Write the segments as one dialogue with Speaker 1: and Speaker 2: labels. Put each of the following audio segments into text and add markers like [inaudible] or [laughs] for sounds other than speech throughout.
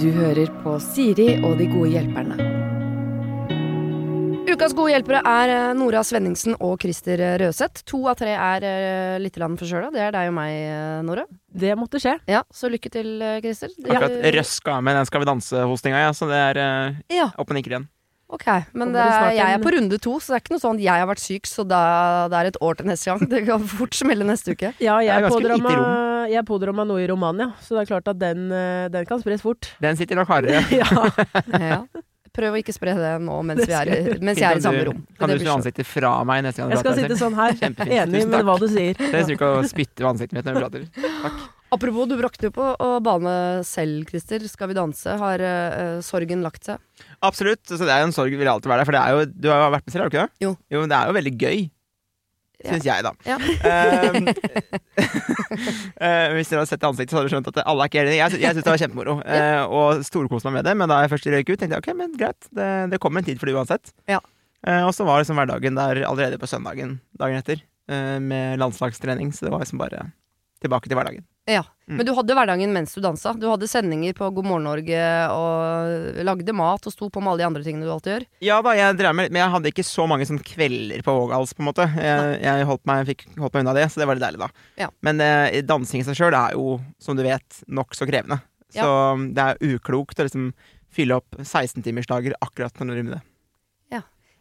Speaker 1: Du hører på Siri og de gode hjelperne.
Speaker 2: Ukas gode hjelpere er eh, Nora Svenningsen og Christer eh, Røseth. To av tre er eh, litt land forkjøla. Det er deg og meg, eh, Nora.
Speaker 3: Det måtte skje.
Speaker 2: Ja, Så lykke til, eh, Christer. Det-
Speaker 4: Akkurat røska med den Skal vi danse-hostinga, ja, så det er eh,
Speaker 2: Ja,
Speaker 4: opp og nikker igjen.
Speaker 2: ok. Men
Speaker 3: Kommer
Speaker 2: det
Speaker 3: det
Speaker 2: er,
Speaker 3: snart
Speaker 2: jeg
Speaker 3: en-
Speaker 2: er på runde to, så det er ikke noe sånn jeg har vært syk, så da, det er et år til neste gang. Det kan fort smelle neste uke.
Speaker 3: Ja,
Speaker 4: Det er
Speaker 3: jeg
Speaker 4: ganske
Speaker 3: pådrar
Speaker 4: lite
Speaker 3: meg-
Speaker 4: rom.
Speaker 3: jeg pådrar meg noe i Romania, så det er klart at den, eh, den kan spres fort.
Speaker 4: Den sitter
Speaker 2: [laughs]
Speaker 4: nok hardere.
Speaker 3: [laughs]
Speaker 4: [laughs]
Speaker 3: ja.
Speaker 2: [laughs] Ja. Prøv å ikke spre det nå mens,
Speaker 3: Det
Speaker 2: vi er, i- mens jeg er
Speaker 4: Fint om
Speaker 2: i samme
Speaker 4: du-
Speaker 2: rom.
Speaker 4: Kan
Speaker 2: Det blir
Speaker 4: du snu
Speaker 2: så-
Speaker 4: ansiktet fra meg neste gang du
Speaker 3: Jeg skal
Speaker 4: prater?
Speaker 3: sitte sånn her.
Speaker 4: Kjempefint.
Speaker 3: Enig
Speaker 4: [laughs] Tusen
Speaker 3: med
Speaker 4: takk.
Speaker 3: hva du sier.
Speaker 4: Jeg trenger ikke å spytte i ansiktet mitt når vi prater.
Speaker 2: Apropos, du brakte jo på å bane selv, Christer. Skal vi danse? Har eh, sorgen lagt seg?
Speaker 4: Absolutt. Så det er jo en sorg vil alltid være der. For det er jo, du har jo vært med selv, har du ikke det?
Speaker 2: Jo.
Speaker 4: men det er jo veldig gøy.
Speaker 2: Ja.
Speaker 4: Syns jeg, da. [laughs]
Speaker 2: Ja.
Speaker 4: Ehm, eh, hvis dere hadde sett det i ansiktet, så hadde dere skjønt at alle er ikke enige. Jeg, sy- jeg syns det var
Speaker 2: [laughs]
Speaker 4: kjempemoro, eh, og storkoste meg med det. Men da jeg først røyk ut, tenkte jeg ok, men greit, det, det kommer en tid for det uansett.
Speaker 2: Ja.
Speaker 4: Eh, og så var liksom hverdagen der allerede på søndagen dagen etter, eh, med landslagstrening. Så det var liksom bare tilbake til hverdagen.
Speaker 2: Ja,
Speaker 4: Mm.
Speaker 2: Men du hadde hverdagen mens du dansa. Du hadde sendinger på God morgen Norge og lagde mat og sto på med alle de andre tingene du alltid gjør.
Speaker 4: Ja da, jeg drev med litt, men jeg hadde ikke så mange sånn kvelder på Vågals, på en måte. Jeg, jeg holdt, meg, fikk, holdt meg unna det, så det var litt deilig, da.
Speaker 2: Ja.
Speaker 4: Men eh, dansing i seg sjøl er jo, som du vet, nokså krevende. Så um, det er uklokt å liksom fylle opp 16-timersdager akkurat når du driver med det.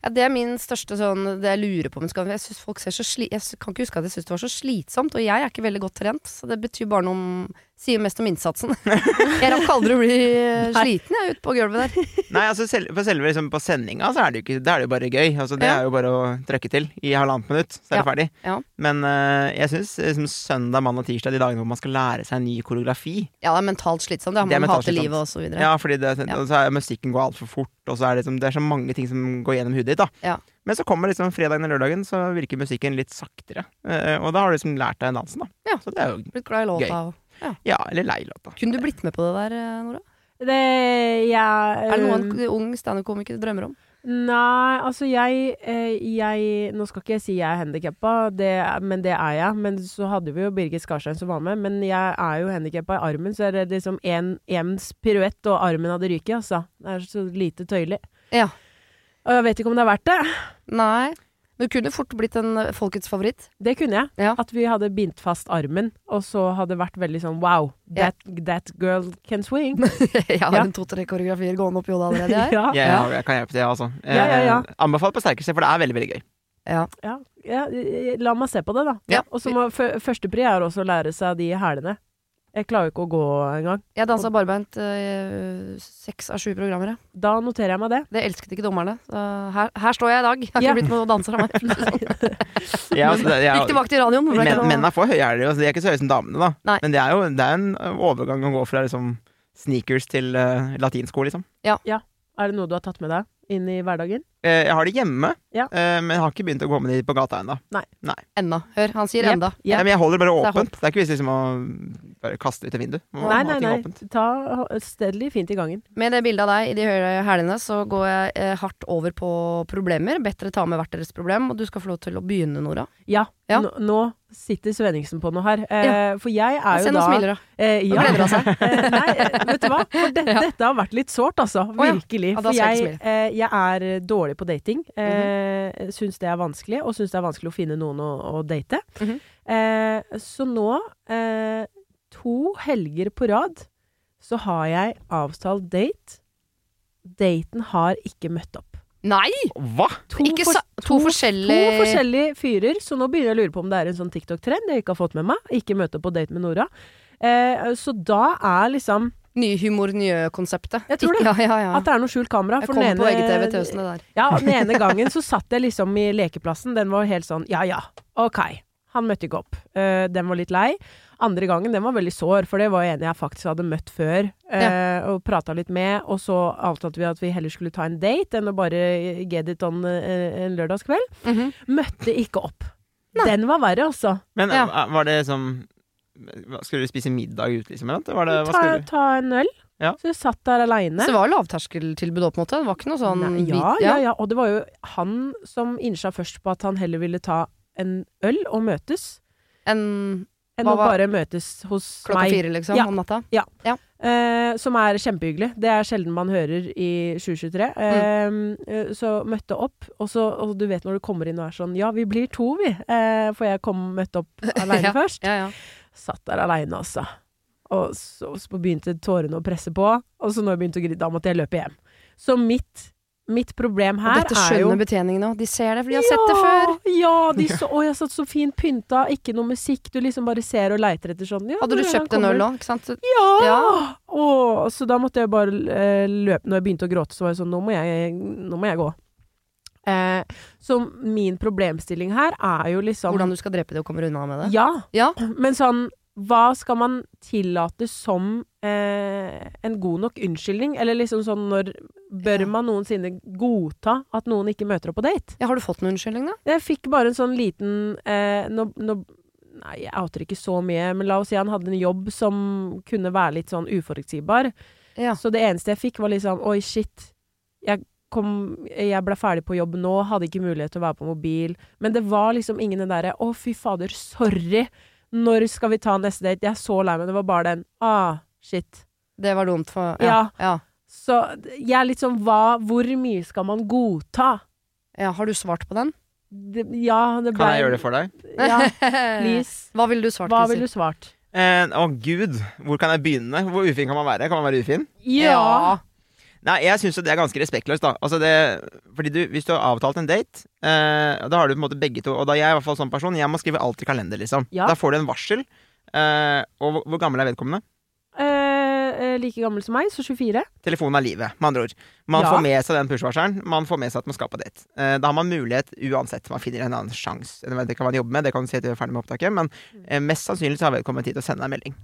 Speaker 2: Ja, det er min største sånn Det jeg lurer på om skal Jeg synes folk ser så sli Jeg s- kan ikke huske at jeg syntes det var så slitsomt, og jeg er ikke veldig godt trent, så det betyr bare noe om Sier mest om innsatsen. [laughs] jeg rakk aldri å bli
Speaker 4: [laughs]
Speaker 2: eh,
Speaker 3: Nei.
Speaker 2: sliten, jeg, ute på gulvet der.
Speaker 4: Nei, altså sel for selve liksom, på sendinga så er det jo ikke Da er det jo bare gøy. Altså, det
Speaker 2: Ja.
Speaker 4: er jo bare å trykke til i halvannet minutt, så er det ferdig.
Speaker 2: ja.
Speaker 4: Men eh, jeg syns liksom, søndag, mandag, tirsdag, de dagene hvor man skal lære seg en ny koreografi,
Speaker 2: Ja, det er mentalt slitsomt. Det
Speaker 4: Det er
Speaker 2: har man
Speaker 4: mentalt
Speaker 2: hater
Speaker 4: slitsomt.
Speaker 2: livet og så videre.
Speaker 4: Ja, fordi det,
Speaker 2: Ja.
Speaker 4: og så er musikken går altfor fort, og så er det, liksom, det er så mange ting som går gjennom hudet ditt. da.
Speaker 2: Ja.
Speaker 4: Men så kommer liksom fredagen og lørdagen, så virker musikken litt saktere. Eh, og da har du liksom lært deg dansen, da.
Speaker 2: Ja.
Speaker 4: Så det er jo
Speaker 2: Blitt glad i låta
Speaker 4: Gøy.
Speaker 2: og
Speaker 4: Ja, eller lei låta.
Speaker 2: Kunne du blitt med på det der, eh, Nora?
Speaker 3: Det, eh, jeg,
Speaker 4: Eh.
Speaker 2: Er det noe en ung standup-komiker drømmer om?
Speaker 3: Nei, altså jeg, eh, jeg Nå skal ikke jeg si jeg er handikappa, men det er jeg. Men så hadde vi jo Birgit Skarstein som var med. Men jeg er jo handikappa i armen, så er det liksom én piruett, og armen hadde ryket, altså. Det er så lite tøyelig.
Speaker 2: Ja.
Speaker 3: Og jeg vet ikke om det er verdt det.
Speaker 2: Nei. Men du kunne fort blitt en eh, folkets favoritt.
Speaker 3: Det kunne jeg.
Speaker 2: Ja.
Speaker 3: At vi hadde bindt fast armen, og så hadde det vært veldig sånn wow,
Speaker 2: Ja.
Speaker 3: that, that girl can swing.
Speaker 4: [laughs]
Speaker 2: Jeg har
Speaker 3: Ja.
Speaker 2: en to-tre koreografier gående opp i hodet allerede. Jeg.
Speaker 3: ja.
Speaker 4: Jeg,
Speaker 2: [laughs] Ja.
Speaker 4: jeg kan hjelpe til, altså.
Speaker 3: Ja, ja, ja.
Speaker 4: Eh, anbefalt på sterkeste, for det er veldig veldig gøy.
Speaker 2: Ja.
Speaker 3: Ja, ja, la meg se på det, da.
Speaker 2: Ja.
Speaker 3: Og så må fø- førstepri er også å lære seg de hælene. Jeg klarer jo ikke å gå engang.
Speaker 2: Jeg dansa barbeint eh, seks av sju programmer. jeg.
Speaker 3: Da noterer jeg meg det.
Speaker 2: Det elsket ikke dommerne. Så her, her står jeg i dag. Jeg har ikke
Speaker 3: Ja.
Speaker 2: blitt noen danser av meg.
Speaker 4: Ja, altså, det, jeg,
Speaker 2: [laughs] Gikk tilbake til radioen. det ble
Speaker 4: men,
Speaker 2: ikke noe-
Speaker 4: mennene får høye hæler, altså, de er ikke så høye som damene, da.
Speaker 2: Nei.
Speaker 4: Men det er jo det er en eh, overgang å gå fra liksom, sneakers til eh, latinsko, liksom.
Speaker 3: Er det noe du har tatt med deg inn i hverdagen?
Speaker 4: Eh, jeg har de hjemme,
Speaker 3: Ja.
Speaker 4: eh, men jeg har ikke begynt å gå med de på gata ennå.
Speaker 2: Enda. Hør, han sier
Speaker 3: Jepp.
Speaker 2: enda.
Speaker 3: Ja.
Speaker 4: Nei, men jeg holder det bare
Speaker 2: Det er
Speaker 4: åpent. Det er ikke visst liksom å bare kaste ut et vindu. Man må
Speaker 3: nei,
Speaker 4: ha
Speaker 3: nei,
Speaker 4: ting
Speaker 3: nei.
Speaker 4: åpent.
Speaker 3: Ta steadily fint i gangen.
Speaker 2: Med det bildet av deg i de høye hælene, så går jeg eh, hardt over på problemer. Bedt dere ta med hvert deres problem, og du skal få lov til å begynne, Nora.
Speaker 3: Ja.
Speaker 2: Ja.
Speaker 3: Nå, nå sitter Svenningsen på noe her. Eh, For jeg er jo
Speaker 2: Send
Speaker 3: da
Speaker 2: og smiler, da.
Speaker 3: eh,
Speaker 2: Nå
Speaker 3: ja.
Speaker 2: gleder hun seg.
Speaker 3: [laughs] Eh, Nei, eh, vet du hva? For det,
Speaker 2: [laughs] Ja.
Speaker 3: Dette har vært litt sårt, altså.
Speaker 2: ja.
Speaker 3: Virkelig.
Speaker 2: Ja, da
Speaker 3: For
Speaker 2: skal jeg Mhm.
Speaker 3: jeg, eh, jeg er dårlig på dating. Eh, Syns det er vanskelig, og syns det er vanskelig å finne noen å, å date.
Speaker 2: Mhm.
Speaker 3: eh, så nå, eh, to helger på rad, så har jeg avtalt date. Daten har ikke møtt opp.
Speaker 2: Nei!
Speaker 4: Hva?
Speaker 3: To,
Speaker 2: Ikke
Speaker 3: fors-
Speaker 2: sa, to,
Speaker 3: to
Speaker 2: forskjellige
Speaker 3: forskjellige fyrer, så nå begynner jeg å lure på om det er en sånn TikTok-trend jeg ikke har fått med meg. Ikke møte opp på date med Nora. Eh, så da er liksom
Speaker 2: Nye humor, nye konseptet.
Speaker 3: Jeg tror det.
Speaker 2: Ja, ja, ja.
Speaker 3: At det er noe skjult kamera.
Speaker 2: Jeg
Speaker 3: for
Speaker 2: kom
Speaker 3: den
Speaker 2: på
Speaker 3: ene-
Speaker 2: eget tv det der.
Speaker 3: Ja, den ene gangen så satt jeg liksom i lekeplassen. Den var helt sånn ja ja, ok. Han møtte ikke opp. Eh, den var litt lei. Andre gangen den var veldig sår, for det var en jeg faktisk hadde møtt før eh, og prata litt med. Og så avtalte vi at vi heller skulle ta en date enn å bare get it on eh, en lørdagskveld.
Speaker 2: Mhm.
Speaker 3: Møtte ikke opp. Den var verre, altså.
Speaker 4: Men
Speaker 2: Ja.
Speaker 4: eh, var det som hva, Skulle du spise middag ute, liksom? Eller? noe? Var det, hva
Speaker 3: Ta,
Speaker 4: skulle du?
Speaker 3: ta en øl.
Speaker 4: Ja.
Speaker 3: Så jeg satt der aleine.
Speaker 2: Så det var lavterskeltilbud opp mot det? Det var ikke noe sånn
Speaker 3: Nei,
Speaker 2: hvit-
Speaker 3: ja, ja, ja. Og det var jo han som innsa først på at han heller ville ta en øl og møtes.
Speaker 2: En
Speaker 3: enn
Speaker 2: Hva
Speaker 3: å
Speaker 2: var-
Speaker 3: bare møtes hos
Speaker 2: Klokka
Speaker 3: meg.
Speaker 2: fire, liksom,
Speaker 3: Ja.
Speaker 2: om natta.
Speaker 3: Eh, som er kjempehyggelig. Det er sjelden man hører i 2023. Eh,
Speaker 2: Mm.
Speaker 3: eh, Så møtte opp, og, så, og du vet når du kommer inn og er sånn Ja, vi blir to, vi. Eh, for jeg kom møtte
Speaker 2: [laughs]
Speaker 3: opp aleine først.
Speaker 2: Ja, ja.
Speaker 3: Satt der aleine, altså. Og så, så begynte tårene å presse på. Og så når jeg begynte å grine, da måtte jeg løpe hjem. Så mitt, mitt problem
Speaker 2: Og
Speaker 3: her
Speaker 2: dette
Speaker 3: er jo
Speaker 2: skjønner betjeningen òg. De ser det, for de har sett det før.
Speaker 3: Ja! De
Speaker 2: [laughs]
Speaker 3: så, å, jeg satt så fint pynta, ikke noe musikk. Du liksom bare ser og leiter etter sånn. Ja,
Speaker 2: Hadde du
Speaker 3: når er han
Speaker 2: kjøpt en
Speaker 3: kommer?
Speaker 2: øl òg, ikke sant? Så-
Speaker 3: Ja!
Speaker 2: Ja.
Speaker 3: Åh, så da måtte jeg bare eh, løpe. Når jeg begynte å gråte, så var jeg sånn Nå må jeg, nå må jeg gå. Eh, så min problemstilling her er jo liksom
Speaker 2: Hvordan du skal drepe det og kommer unna med det.
Speaker 3: Ja.
Speaker 2: Ja.
Speaker 3: Men sånn Hva skal man tillate som eh, en god nok unnskyldning? Eller liksom sånn når Bør
Speaker 2: Ja.
Speaker 3: man noensinne godta at noen ikke møter opp på date?
Speaker 2: Ja, har du fått en unnskyldning, da?
Speaker 3: Jeg fikk bare en sånn liten eh, nå, nå, Nei, jeg outer ikke så mye, men la oss si han hadde en jobb som kunne være litt sånn uforutsigbar.
Speaker 2: Ja.
Speaker 3: Så det eneste jeg fikk, var liksom Oi, shit. Jeg, kom, jeg ble ferdig på jobb nå, hadde ikke mulighet til å være på mobil. Men det var liksom ingen den derre Å, fy fader, sorry. Når skal vi ta neste date? Jeg er så lei meg. Det var bare den. Ah, shit.
Speaker 2: Det var dumt for
Speaker 3: Ja.
Speaker 2: ja.
Speaker 3: Så jeg er litt sånn hva Hvor mye skal man godta?
Speaker 2: Ja, Har du svart på den?
Speaker 3: Det, ja, det ble
Speaker 4: Kan jeg gjøre det for deg? [laughs]
Speaker 3: Ja,
Speaker 2: [laughs]
Speaker 3: please.
Speaker 2: Hva ville du svart,
Speaker 3: Hva ville
Speaker 2: Kristin?
Speaker 3: du svart?
Speaker 4: Eh, å gud, hvor kan jeg begynne? Hvor ufin kan man være? Kan man være ufin?
Speaker 3: Ja.
Speaker 4: Nei, jeg syns det er ganske respektløst, da. Altså det, fordi du, hvis du har avtalt en date, eh, da har du på en måte begge to Og da er jeg i hvert fall sånn person, jeg må skrive alt i kalender, liksom.
Speaker 3: Ja.
Speaker 4: Da får du en varsel. Eh, og hvor, hvor gammel er vedkommende?
Speaker 3: Eh, eh, like gammel som meg, så 24.
Speaker 4: Telefonen er livet, med andre ord. Man
Speaker 3: Ja.
Speaker 4: får med seg den push-varselen, man får med seg at man skal på date. Eh, da har man mulighet uansett, man finner en annen sjanse. Det kan man jobbe med, det kan du si etter vi er ferdig med opptaket, men eh, mest sannsynlig så har vedkommende tid til å sende deg en melding.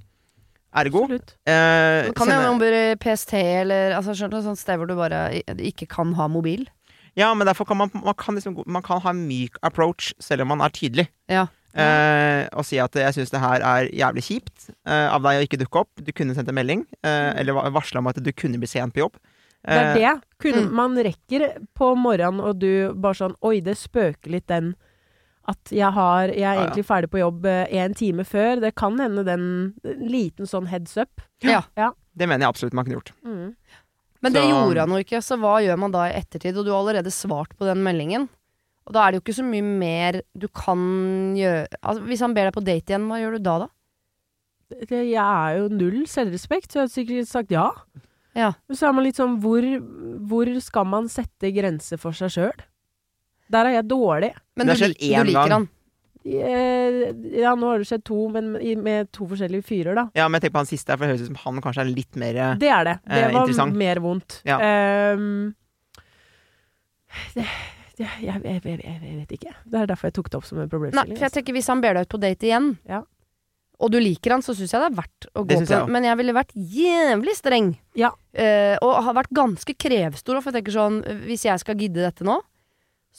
Speaker 4: Ergo
Speaker 3: Absolutt.
Speaker 4: eh,
Speaker 2: Men Kan jeg
Speaker 4: sende-
Speaker 2: om bør- PST eller altså, skjønner du, sånt sted hvor du bare i- ikke kan ha mobil?
Speaker 4: Ja, men derfor kan man, man, kan liksom, gå- man kan ha en myk approach, selv om man er tydelig.
Speaker 2: Ja.
Speaker 4: Eh, og si at eh, jeg syns det her er jævlig kjipt eh, av deg å ikke dukke opp. Du kunne sendt en melding, eh, eller va- varsla om at du kunne bli sent på jobb.
Speaker 3: Mm. Det er
Speaker 4: Eh,
Speaker 3: det. Kunne,
Speaker 2: Mm.
Speaker 3: Man rekker på morgenen, og du bare sånn Oi, det spøker litt den at jeg, har, jeg er
Speaker 4: ja.
Speaker 3: egentlig ferdig på jobb eh, en time før. Det kan hende den en liten sånn heads up.
Speaker 4: det mener jeg absolutt man kunne gjort.
Speaker 3: Mm.
Speaker 2: Men det
Speaker 4: Så-
Speaker 2: gjorde han jo ikke, så hva gjør man da i ettertid? Og du har allerede svart på den meldingen. Og da er det jo ikke så mye mer du kan gjøre altså, Hvis han ber deg på date igjen, hva gjør du da, da?
Speaker 3: Det- Jeg er jo null selvrespekt, så jeg hadde sikkert sagt ja.
Speaker 2: Ja.
Speaker 3: Men så er man litt sånn Hvor, hvor skal man sette grenser for seg sjøl? Der er jeg dårlig.
Speaker 2: Men
Speaker 4: Det
Speaker 2: du,
Speaker 4: har skjedd
Speaker 2: lik,
Speaker 4: én
Speaker 2: du liker
Speaker 4: gang.
Speaker 2: han.
Speaker 3: Eh, Ja, nå har det skjedd to, men i- med to forskjellige fyrer, da.
Speaker 4: Ja, men jeg tenker på han siste, her, for det høres ut som han kanskje er litt mer eh,
Speaker 3: Det er det. Det
Speaker 4: Eh,
Speaker 3: var
Speaker 4: interessant.
Speaker 3: mer vondt.
Speaker 4: Ja.
Speaker 3: Ehm, det, det, jeg, jeg, jeg, jeg vet ikke. Det er derfor jeg tok det opp som en
Speaker 2: Nei,
Speaker 3: problemstilling. altså.
Speaker 2: for jeg tenker hvis han ber deg ut på date igjen,
Speaker 3: Ja.
Speaker 2: og du liker han, så syns jeg det er verdt å
Speaker 4: Det
Speaker 2: gå
Speaker 4: synes
Speaker 2: på.
Speaker 4: jeg også.
Speaker 2: Men jeg ville vært jævlig streng.
Speaker 3: Ja.
Speaker 2: Eh, og har vært ganske krevstor. For jeg tenker sånn, hvis jeg skal gidde dette nå,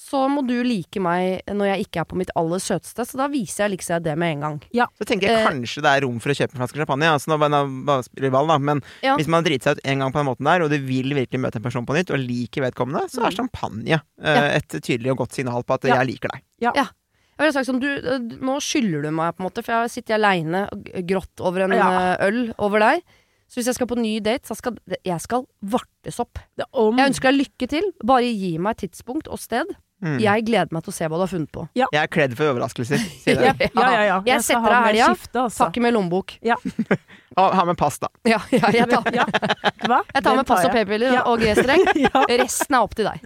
Speaker 2: så må du like meg når jeg ikke er på mitt aller søteste. Så da viser jeg liksom det med en gang.
Speaker 4: Så tenker jeg
Speaker 2: Eh.
Speaker 4: kanskje det er rom for å kjøpe en flaske champagne. Altså, nå bare- nå bare spiller vi ball, da. Men
Speaker 2: Ja.
Speaker 4: hvis man driter seg ut en gang på den måten der, og du vil virkelig møte en person på nytt, og liker vedkommende, så er champagne eh, et tydelig og godt signal på at eh,
Speaker 3: Mm. Ja.
Speaker 4: jeg liker deg.
Speaker 2: Jeg ville sagt sånn, du, eh, nå skylder du meg på en måte, for jeg sitter aleine og g- grått over en
Speaker 3: Ja.
Speaker 2: eh, øl over deg. Så hvis jeg skal på ny date, så skal det- jeg skal vartes opp.
Speaker 3: Det er om,
Speaker 2: Jeg ønsker deg lykke til, bare gi meg tidspunkt og sted.
Speaker 4: Mm.
Speaker 2: Jeg gleder meg til å se hva du har funnet på.
Speaker 4: Jeg er kledd for overraskelser. sier
Speaker 3: [laughs] ja,
Speaker 4: dere.
Speaker 3: ja, ja, ja.
Speaker 2: Jeg
Speaker 3: skal
Speaker 2: setter
Speaker 3: ha
Speaker 2: deg
Speaker 3: med
Speaker 2: i helga.
Speaker 3: skifte, altså.
Speaker 2: Pakke med lommebok. [laughs]
Speaker 4: Ha, ha med pass, da.
Speaker 2: Ja, ja, jeg tar,
Speaker 3: Ja. Hva?
Speaker 2: jeg tar med pass og p-piller
Speaker 3: Ja.
Speaker 2: og [laughs] G-streng.
Speaker 3: Ja,
Speaker 2: Resten er opp til deg.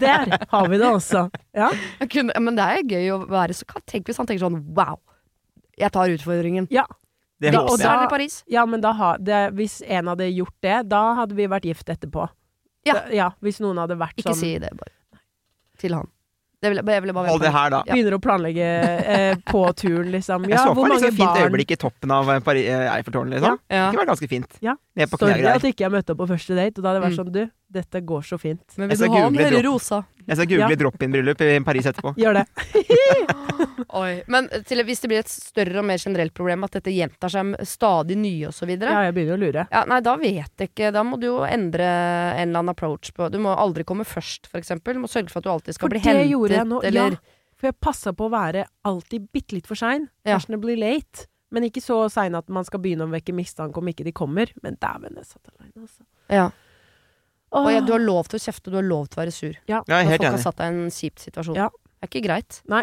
Speaker 3: der har vi det altså. også. Ja.
Speaker 2: [laughs] Jeg kunne- Men det er gøy å være så Tenk hvis han tenker sånn wow, jeg tar utfordringen.
Speaker 4: Det
Speaker 3: Ja,
Speaker 2: Og
Speaker 4: håper
Speaker 3: og
Speaker 2: så
Speaker 4: jeg.
Speaker 2: er det Paris.
Speaker 3: Ja, men da ha, det, hvis en hadde gjort det, da hadde vi vært gift etterpå.
Speaker 2: Ja.
Speaker 3: Da- ja hvis noen hadde vært
Speaker 2: Ikke
Speaker 3: sånn
Speaker 2: si det, bare. Til han. Det vil, jeg ville bare
Speaker 4: Hold det her, da.
Speaker 2: Ja.
Speaker 3: Begynner å planlegge eh, på turen, liksom.
Speaker 4: Jeg
Speaker 3: Ja,
Speaker 4: så for
Speaker 3: hvor
Speaker 4: meg
Speaker 3: mange
Speaker 4: liksom fint
Speaker 3: barn
Speaker 4: øyeblikk i toppen av eh, Pari- eh, Eiffeltårnet, liksom. Det
Speaker 2: Ja.
Speaker 4: kunne vært ganske fint.
Speaker 3: Ja.
Speaker 4: Ned på
Speaker 3: Sorry
Speaker 4: knærne
Speaker 3: at
Speaker 4: der.
Speaker 3: ikke jeg møtte opp på første date, og da hadde jeg vært
Speaker 2: Mm.
Speaker 3: sånn Du, dette går så fint.
Speaker 2: Men vil
Speaker 4: Jeg
Speaker 2: du
Speaker 4: skal
Speaker 2: ha den
Speaker 4: google
Speaker 2: eller
Speaker 4: drop.
Speaker 2: rosa?
Speaker 4: Jeg skal google
Speaker 3: Ja.
Speaker 4: drop-in-bryllup i Paris etterpå.
Speaker 3: Gjør det.
Speaker 2: [gasps] Oi. Men til, hvis det blir et større og mer generelt problem, at dette gjentar seg med stadig nye og så videre
Speaker 3: Ja, jeg begynner å lure.
Speaker 2: ja, Nei, da vet jeg ikke. Da må du jo endre en eller annen approach på Du må aldri komme først, for eksempel. Du må sørge for at du alltid skal
Speaker 3: For
Speaker 2: bli
Speaker 3: det
Speaker 2: hentet,
Speaker 3: gjorde jeg nå.
Speaker 2: eller
Speaker 3: ja. For jeg passa på å være alltid bitte litt for sein.
Speaker 5: Ja.
Speaker 3: Fashionably late. Men ikke så sein at man skal begynne å vekke mistanke om ikke de kommer. Men dæven, jeg satt aleine, altså.
Speaker 5: Ja. Og
Speaker 3: Åh.
Speaker 5: jeg, du har lov til å kjefte, du har lov til å være sur.
Speaker 4: Ja, jeg er
Speaker 5: Når
Speaker 4: helt
Speaker 5: folk har
Speaker 4: enig.
Speaker 5: satt deg i en kjip situasjon.
Speaker 3: Ja.
Speaker 5: Det er ikke greit.
Speaker 3: Nei.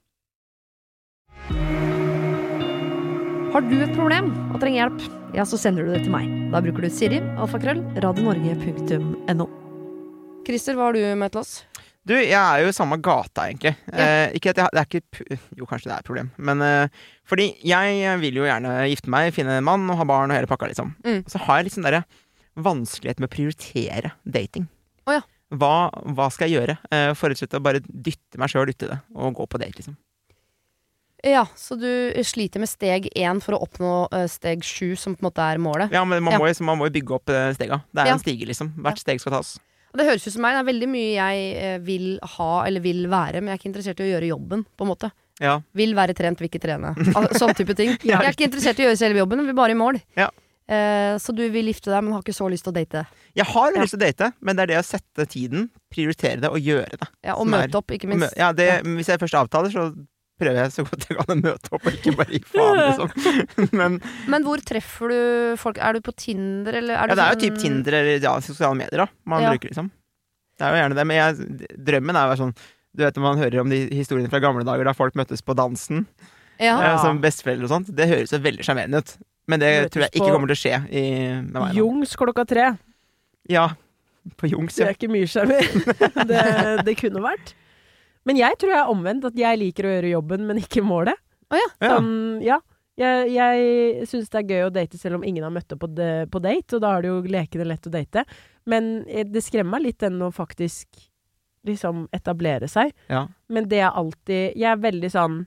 Speaker 2: Har du et problem og trenger hjelp, ja, så sender du det til meg. Da bruker du Siri, alfakrøll, radionorge.no.
Speaker 5: Christer, hva har du med til oss?
Speaker 4: Du, jeg er jo i samme gata, egentlig.
Speaker 5: Ja.
Speaker 4: Eh, ikke at jeg, det er ikke pu- Jo, kanskje det er et problem, men eh, Fordi jeg eh, vil jo gjerne gifte meg, finne en mann og ha barn og hele pakka, liksom.
Speaker 5: Mm.
Speaker 4: Så har jeg liksom derre vanskelighet med å prioritere dating.
Speaker 5: Å ja.
Speaker 4: hva, hva skal jeg gjøre? Eh, for rett og slett å bare dytte meg sjøl uti det og gå på date, liksom.
Speaker 5: Ja, så du sliter med steg én for å oppnå eh, steg sju, som på en måte er målet.
Speaker 4: Ja, men man,
Speaker 5: Ja.
Speaker 4: Må, jo, så man må jo bygge opp eh, stega. Det er
Speaker 5: Ja.
Speaker 4: en stige, liksom. Hvert steg skal tas.
Speaker 5: Og Det høres ut som meg. Det er veldig mye jeg eh, vil ha eller vil være, men jeg er ikke interessert i å gjøre jobben, på en måte.
Speaker 4: Ja.
Speaker 5: Vil være trent, vil ikke
Speaker 4: [laughs]
Speaker 5: trene. Al sånn type ting. Jeg er ikke interessert i å gjøre selve jobben, men vil bare i mål.
Speaker 4: Ja.
Speaker 5: Eh, så du vil gifte deg, men har ikke så lyst til å date.
Speaker 4: Jeg har veldig
Speaker 5: Ja.
Speaker 4: lyst til å date, men det er det å sette tiden, prioritere det og gjøre det.
Speaker 5: Ja, og
Speaker 4: Som er-
Speaker 5: møte opp, ikke minst.
Speaker 4: Ja, det, Hvis jeg først avtaler, så prøver jeg så godt jeg kan å møte opp og ikke bare gi
Speaker 5: [laughs]
Speaker 4: faen, liksom. Men
Speaker 5: Men hvor treffer du folk? Er du på Tinder, eller er
Speaker 4: ja,
Speaker 5: du
Speaker 4: det er jo
Speaker 5: sånn-
Speaker 4: typ Tinder eller ja, sosiale medier da man
Speaker 5: Ja.
Speaker 4: bruker, liksom. Det er jo gjerne det. Men jeg, drømmen er jo å være sånn du vet når man hører om de historiene fra gamle dager da folk møttes på dansen
Speaker 5: Ja.
Speaker 4: eh, som besteforeldre og sånt, det høres jo veldig sjarmerende ut. Men det
Speaker 3: Møtes
Speaker 4: tror jeg
Speaker 3: på-
Speaker 4: ikke kommer til å skje i, med meg. nå.
Speaker 3: Jungs klokka tre.
Speaker 4: Ja, på Jungs,
Speaker 3: Det
Speaker 4: ja.
Speaker 3: er ikke mye sjarmer. det, [laughs] det kunne vært. Men jeg tror jeg er omvendt, at jeg liker å gjøre jobben, men ikke målet.
Speaker 4: ja.
Speaker 3: Sånn, ja. Jeg, jeg syns det er gøy å date selv om ingen har møtt opp på, de, på date, og da er det jo lekende lett å date. Men eh, det skremmer meg litt den å faktisk liksom etablere seg.
Speaker 4: Ja.
Speaker 3: Men det er alltid Jeg er veldig sånn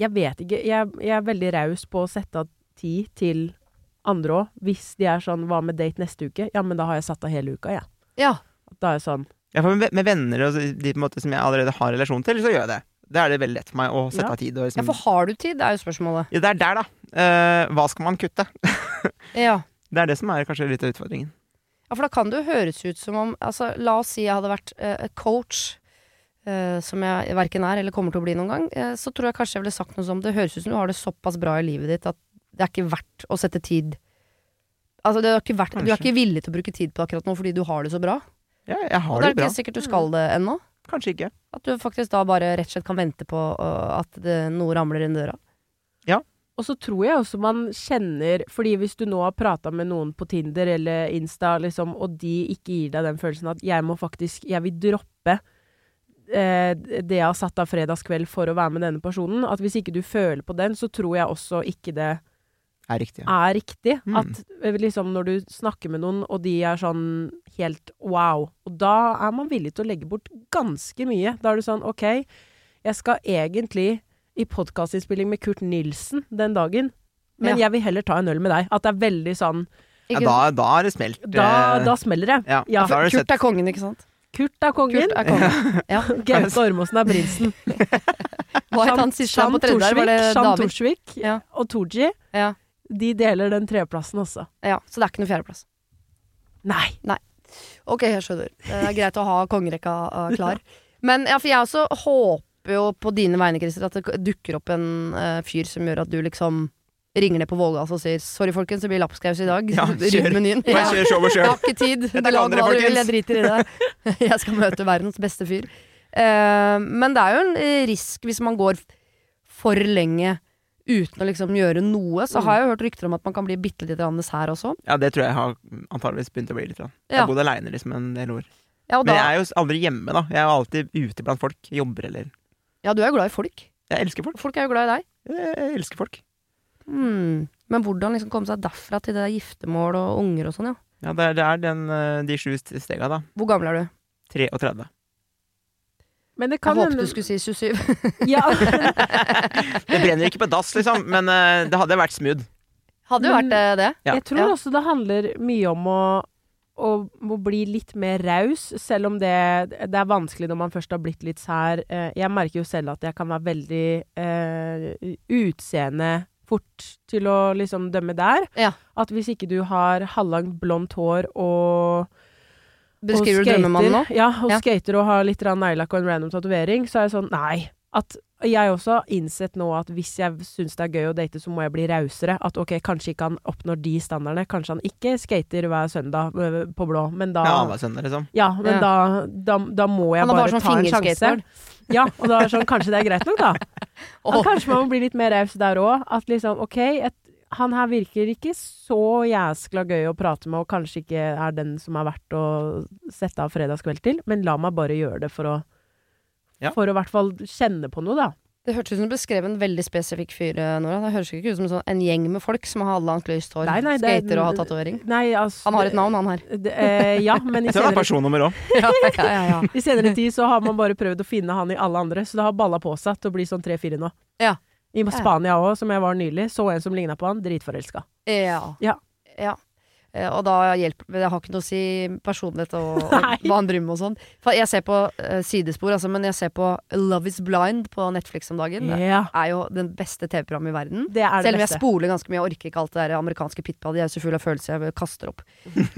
Speaker 3: Jeg vet ikke Jeg, jeg er veldig raus på å sette av tid til andre òg. Hvis de er sånn 'Hva med date neste uke?' Ja, men da har jeg satt av hele uka, jeg.
Speaker 5: Ja.
Speaker 3: Da er jeg sånn
Speaker 4: Ja, for med med venner og de på en måte som jeg allerede har relasjon til, så gjør jeg det. Da er det veldig lett for meg å sette
Speaker 3: Ja.
Speaker 4: av tid. Og
Speaker 5: ja,
Speaker 4: liksom,
Speaker 2: Mm.
Speaker 5: for har du tid? Det er jo spørsmålet.
Speaker 4: ja, det er der, da. Eh, hva skal man kutte?
Speaker 5: Ja.
Speaker 4: Det er det som er kanskje litt av utfordringen.
Speaker 5: Ja, for da kan det jo høres ut som om altså, La oss si jeg hadde vært eh, coach, eh, som jeg verken er eller kommer til å bli noen gang. eh, så tror jeg kanskje jeg ville sagt noe som Det høres ut som du har det såpass bra i livet ditt at det er ikke verdt å sette tid Altså, det er ikke verdt, Du er
Speaker 4: Kanskje.
Speaker 5: ikke villig til å bruke tid på akkurat nå fordi du har det så bra.
Speaker 4: Ja, jeg
Speaker 5: Og
Speaker 4: har
Speaker 5: det
Speaker 4: det
Speaker 5: er
Speaker 4: bra.
Speaker 5: ikke sikkert du skal
Speaker 2: Mm.
Speaker 5: det ennå.
Speaker 4: Kanskje ikke.
Speaker 5: At du faktisk da bare rett og slett kan vente på øh, at det, noe ramler inn døra.
Speaker 3: Og så tror jeg også man kjenner Fordi hvis du nå har prata med noen på Tinder eller Insta, liksom, og de ikke gir deg den følelsen at 'jeg må faktisk Jeg vil droppe eh, det jeg har satt av fredagskveld for å være med denne personen At hvis ikke du føler på den, så tror jeg også ikke det
Speaker 4: Det er riktig. Ja.
Speaker 3: er riktig.
Speaker 4: Mm.
Speaker 3: At eh, liksom når du snakker med noen, og de er sånn helt wow, og da er man villig til å legge bort ganske mye. Da er du sånn OK, Jeg skal egentlig i podkastinnspilling med Kurt Nilsen den dagen, men
Speaker 2: Ja.
Speaker 3: jeg vil heller ta en øl med deg. At det er veldig sånn
Speaker 4: Ja,
Speaker 2: Ikke
Speaker 4: da, da er det smelt.
Speaker 3: Da,
Speaker 4: eh,
Speaker 3: da smeller det.
Speaker 4: ja,
Speaker 3: ja.
Speaker 4: Da har du sett
Speaker 2: Kurt er kongen, ikke sant?
Speaker 3: Kurt er kongen.
Speaker 2: Kurt er kongen.
Speaker 4: [laughs]
Speaker 2: Ja.
Speaker 3: Gaute Ormåsen er prinsen.
Speaker 2: [laughs] Hva het han
Speaker 3: Sam
Speaker 2: siste her
Speaker 3: Sam
Speaker 2: på tredje der? Var det
Speaker 3: Torsvik, Sam
Speaker 2: David?
Speaker 3: Torsvik
Speaker 2: Ja.
Speaker 3: og Tooji.
Speaker 2: Ja.
Speaker 3: De deler den tredjeplassen også.
Speaker 2: ja. Så det er ikke noe fjerdeplass.
Speaker 3: Nei.
Speaker 2: Ok, jeg skjønner. Det [laughs] er greit å ha kongerekka eh, klar. Men ja, for jeg også håper jo på dine vegne, Christer, at det dukker opp en eh, fyr som gjør at du liksom ringer ned på Vålgals og sier 'sorry, folkens, det blir lapskaus i dag'. [laughs]
Speaker 4: Ja, kjør.
Speaker 2: Rydd menyen.
Speaker 4: Må jeg
Speaker 2: Ja.
Speaker 4: kjøre showet
Speaker 2: Jeg
Speaker 4: sjøl.
Speaker 2: har ikke tid. Du
Speaker 4: kan
Speaker 2: lager
Speaker 4: dere,
Speaker 2: hva du vil, jeg
Speaker 4: folkens.
Speaker 2: driter i det. [laughs] Jeg skal møte verdens beste fyr. Eh, men det er jo en eh, risk hvis man går f- for lenge uten å liksom gjøre noe. Så har jeg jo hørt rykter om at man kan bli bitte litt grann sær også.
Speaker 4: Ja, det tror jeg har antageligvis begynt å bli litt. Da. Jeg
Speaker 2: Ja.
Speaker 4: har bodd aleine liksom, en del år.
Speaker 2: Ja, og
Speaker 4: Men jeg
Speaker 2: da,
Speaker 4: er jo aldri hjemme, da. Jeg er jo alltid ute blant folk. Jobber eller
Speaker 2: ja du er jo glad i folk.
Speaker 4: Jeg elsker folk.
Speaker 2: Folk er jo glad i deg.
Speaker 4: Jeg jeg elsker folk.
Speaker 2: Hmm. Men hvordan liksom komme seg derfra til det der giftermål og unger og sånn, ja.
Speaker 4: Ja, det er, det er den, eh, de sju stega, da.
Speaker 2: Hvor gammel er du?
Speaker 4: 33.
Speaker 3: Men det
Speaker 2: Jeg
Speaker 3: kan
Speaker 2: håpet
Speaker 3: hende
Speaker 2: du skulle si 27.
Speaker 3: [laughs] ja.
Speaker 2: [laughs]
Speaker 4: Det brenner ikke på dass, liksom, men eh, det hadde vært smooth.
Speaker 2: Hadde jo
Speaker 3: Men-
Speaker 2: vært eh, det.
Speaker 4: Ja.
Speaker 3: Jeg tror
Speaker 2: Ja.
Speaker 3: også det handler mye om å, å, å bli litt mer raus, selv om det, det er vanskelig når man først har blitt litt sær. Eh, Jeg merker jo selv at jeg kan være veldig eh, utseende fort til å liksom dømme der.
Speaker 2: Ja.
Speaker 3: At hvis ikke du har halvlangt blondt hår og
Speaker 2: Beskriver
Speaker 3: og
Speaker 2: du
Speaker 3: skater-
Speaker 2: drømmemannen nå?
Speaker 3: Ja, og
Speaker 2: Ja.
Speaker 3: skater og har litt grann neglelakk og en random tatovering, så er jeg sånn nei. At jeg også har innsett nå at hvis jeg syns det er gøy å date, så må jeg bli rausere. At ok, kanskje ikke han oppnår de standardene. Kanskje han ikke skater hver søndag øh, på blå, men da
Speaker 4: Med alle sønner, liksom.
Speaker 3: ja, men
Speaker 2: Ja.
Speaker 3: Da, da, da må jeg
Speaker 2: Han har
Speaker 3: bare
Speaker 2: bare sånn
Speaker 3: ta en sjanse.
Speaker 2: fingerskateboard.
Speaker 3: Ja, og da er det sånn, kanskje det er greit
Speaker 2: [laughs]
Speaker 3: nok, da.
Speaker 2: Åh.
Speaker 3: Og kanskje man må bli litt mer raus der òg. At liksom, OK, et, han her virker ikke så jæskla gøy å prate med, og kanskje ikke er den som er verdt å sette av fredagskveld til, men la meg bare gjøre det for å
Speaker 4: Ja.
Speaker 3: For å i hvert fall kjenne på noe, da.
Speaker 2: Det hørtes ut som du beskrev en veldig spesifikk fyr, eh, Nora. Det høres ikke ut som en sånn, en gjeng med folk som har halvannet løst hår,
Speaker 3: Nei, nei, det er-
Speaker 2: skater og har tatovering.
Speaker 3: Nei, altså
Speaker 2: Han har et navn, han her.
Speaker 3: Det, eh, ja,
Speaker 4: [laughs]
Speaker 3: men i
Speaker 4: Jeg tror det
Speaker 3: senere,
Speaker 4: er personnummer òg.
Speaker 2: Ja, ja, ja, ja.
Speaker 3: i senere tid så har man bare prøvd å finne han i alle andre, så det har balla på seg til å bli sånn tre-fire nå.
Speaker 2: Ja.
Speaker 3: I Spania òg, som jeg var nylig, så en som ligna på han, dritforelska.
Speaker 2: [laughs] Ja.
Speaker 3: Ja.
Speaker 2: Ja. Eh, Og da hjelper det har ikke noe å si personlighet og, og
Speaker 3: [laughs] Nei.
Speaker 2: hva han driver med og sånn. For jeg ser på eh, sidespor, altså, men jeg ser på Love is blind på Netflix om dagen. Det
Speaker 3: Ja.
Speaker 2: er jo den beste TV-programmet i verden.
Speaker 3: Det er det
Speaker 2: Selv om jeg
Speaker 3: beste.
Speaker 2: spoler ganske mye, jeg orker ikke alt det der amerikanske pitpa. De er jo så fulle av følelser, jeg kaster opp.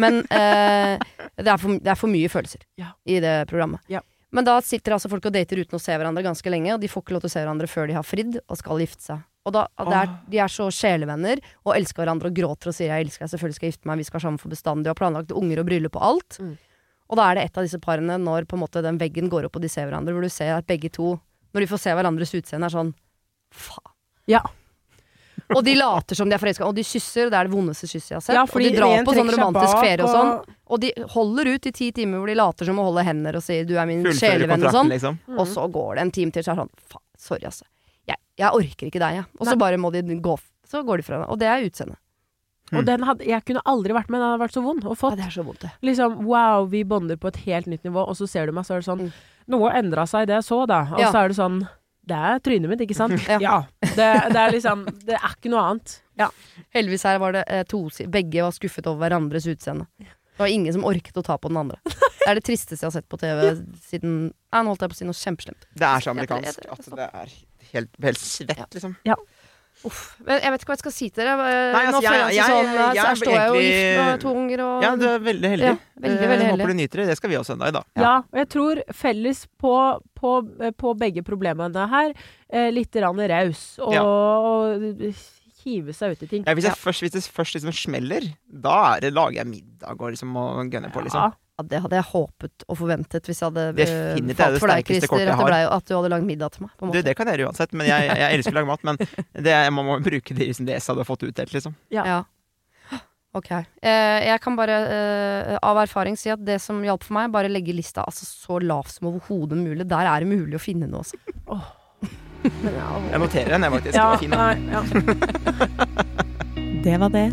Speaker 2: Men eh, det, er for, det er for mye følelser
Speaker 3: Ja.
Speaker 2: i det programmet.
Speaker 3: Ja.
Speaker 2: Men da sitter altså folk og dater uten å se hverandre ganske lenge, og de får ikke lov til å se hverandre før de har fridd og skal gifte seg. Og da, at det er, De er så sjelevenner og elsker hverandre og gråter og sier 'jeg elsker deg, selvfølgelig skal jeg gifte meg, vi skal være sammen for bestandig' og har planlagt unger og bryllup og alt.
Speaker 3: Mm.
Speaker 2: Og da er det et av disse parene når på en måte den veggen går opp og de ser hverandre, hvor du ser at begge to, når de får se hverandres utseende, er sånn faen.
Speaker 3: Ja.
Speaker 2: Og de later som de er forelska, og de kysser, og det er det vondeste kysset jeg har sett.
Speaker 3: Ja,
Speaker 2: og de drar
Speaker 3: en
Speaker 2: på sånn
Speaker 3: trekker seg
Speaker 2: romantisk
Speaker 3: bak,
Speaker 2: ferie og sånn. Og de holder ut i ti timer hvor de later som å holde hender og sier 'du er min
Speaker 4: Fullfører
Speaker 2: sjelevenn' og
Speaker 4: kontrakten,
Speaker 2: sånn.
Speaker 4: liksom.
Speaker 3: Mm.
Speaker 2: Og så går det en time til, så er det sånn faen, sorry, altså. Jeg, jeg orker ikke deg, jeg. Og så
Speaker 3: Nei.
Speaker 2: bare må de gå. f- Så går de fra hverandre. Og det er utseendet.
Speaker 3: Og den hadde, jeg kunne aldri vært med, den hadde vært så vond å
Speaker 2: Ja,
Speaker 3: få.
Speaker 2: det er så vondt, det.
Speaker 3: Liksom, wow, vi bonder på et helt nytt nivå, og så ser du meg, så er det sånn
Speaker 2: Mm.
Speaker 3: Noe endra seg i det jeg så, da. Og
Speaker 2: Ja.
Speaker 3: så er det sånn Det er trynet mitt, ikke sant?
Speaker 2: Ja.
Speaker 3: Det, det er liksom Det er ikke noe annet. Ja.
Speaker 2: Heldigvis her var det eh, to si- Begge var skuffet over hverandres utseende. Det var ingen som orket å ta på den [laughs] andre. Det er det tristeste jeg har sett på TV siden Nei, nå holdt jeg på å si noe kjempeslemt.
Speaker 4: Det er
Speaker 2: Jeg tror-
Speaker 4: så
Speaker 2: jeg
Speaker 4: amerikansk
Speaker 2: tror-
Speaker 4: at det er helt, helt svett, liksom.
Speaker 2: Uff. Men jeg vet ikke hva jeg skal si til dere. Eh,
Speaker 4: Nei, altså,
Speaker 2: nå føler jeg,
Speaker 4: jeg-
Speaker 2: meg
Speaker 4: jeg-
Speaker 2: sånn eh, så
Speaker 4: jeg er
Speaker 2: her står jeg jo
Speaker 4: egentlig-
Speaker 2: gift med to unger og
Speaker 4: Ja, du er veldig heldig.
Speaker 2: Ja, veldig, veldig
Speaker 4: Eh,
Speaker 2: heldig.
Speaker 4: Håper du nyter det. Det skal vi også en dag, da.
Speaker 3: Ja. og jeg tror felles på, på, på begge problemene her, eh, litt rann raus og,
Speaker 4: Ja.
Speaker 3: og hive seg ut i ting.
Speaker 4: Ja, hvis, jeg først, hvis det først liksom smeller, da er det, lager jeg middag og liksom og gønner på, liksom.
Speaker 3: Ja.
Speaker 2: Ja, det hadde jeg håpet og forventet hvis jeg hadde eh,
Speaker 4: Definitivt, det er
Speaker 2: falt
Speaker 4: det
Speaker 2: for deg,
Speaker 4: sterkeste kortet
Speaker 2: Christer.
Speaker 4: jeg
Speaker 2: At, det
Speaker 4: har.
Speaker 2: ble, at du hadde lagd middag til meg. På en
Speaker 4: Du,
Speaker 2: måte.
Speaker 4: det kan jeg gjøre uansett, men jeg, jeg elsker å lage mat. Men det, man må jo bruke de som DS hadde fått utdelt, liksom.
Speaker 2: ja. Ok. Eh, jeg kan bare eh, av erfaring si at det som hjalp for meg, bare legge lista altså, så lavt som overhodet mulig. Der er det mulig å finne noe. Altså.
Speaker 3: Men ja, og-
Speaker 4: Jeg noterer den, jeg, faktisk.
Speaker 3: Ja,
Speaker 4: Det var fin, da.
Speaker 3: nei, ja.
Speaker 6: Det var det.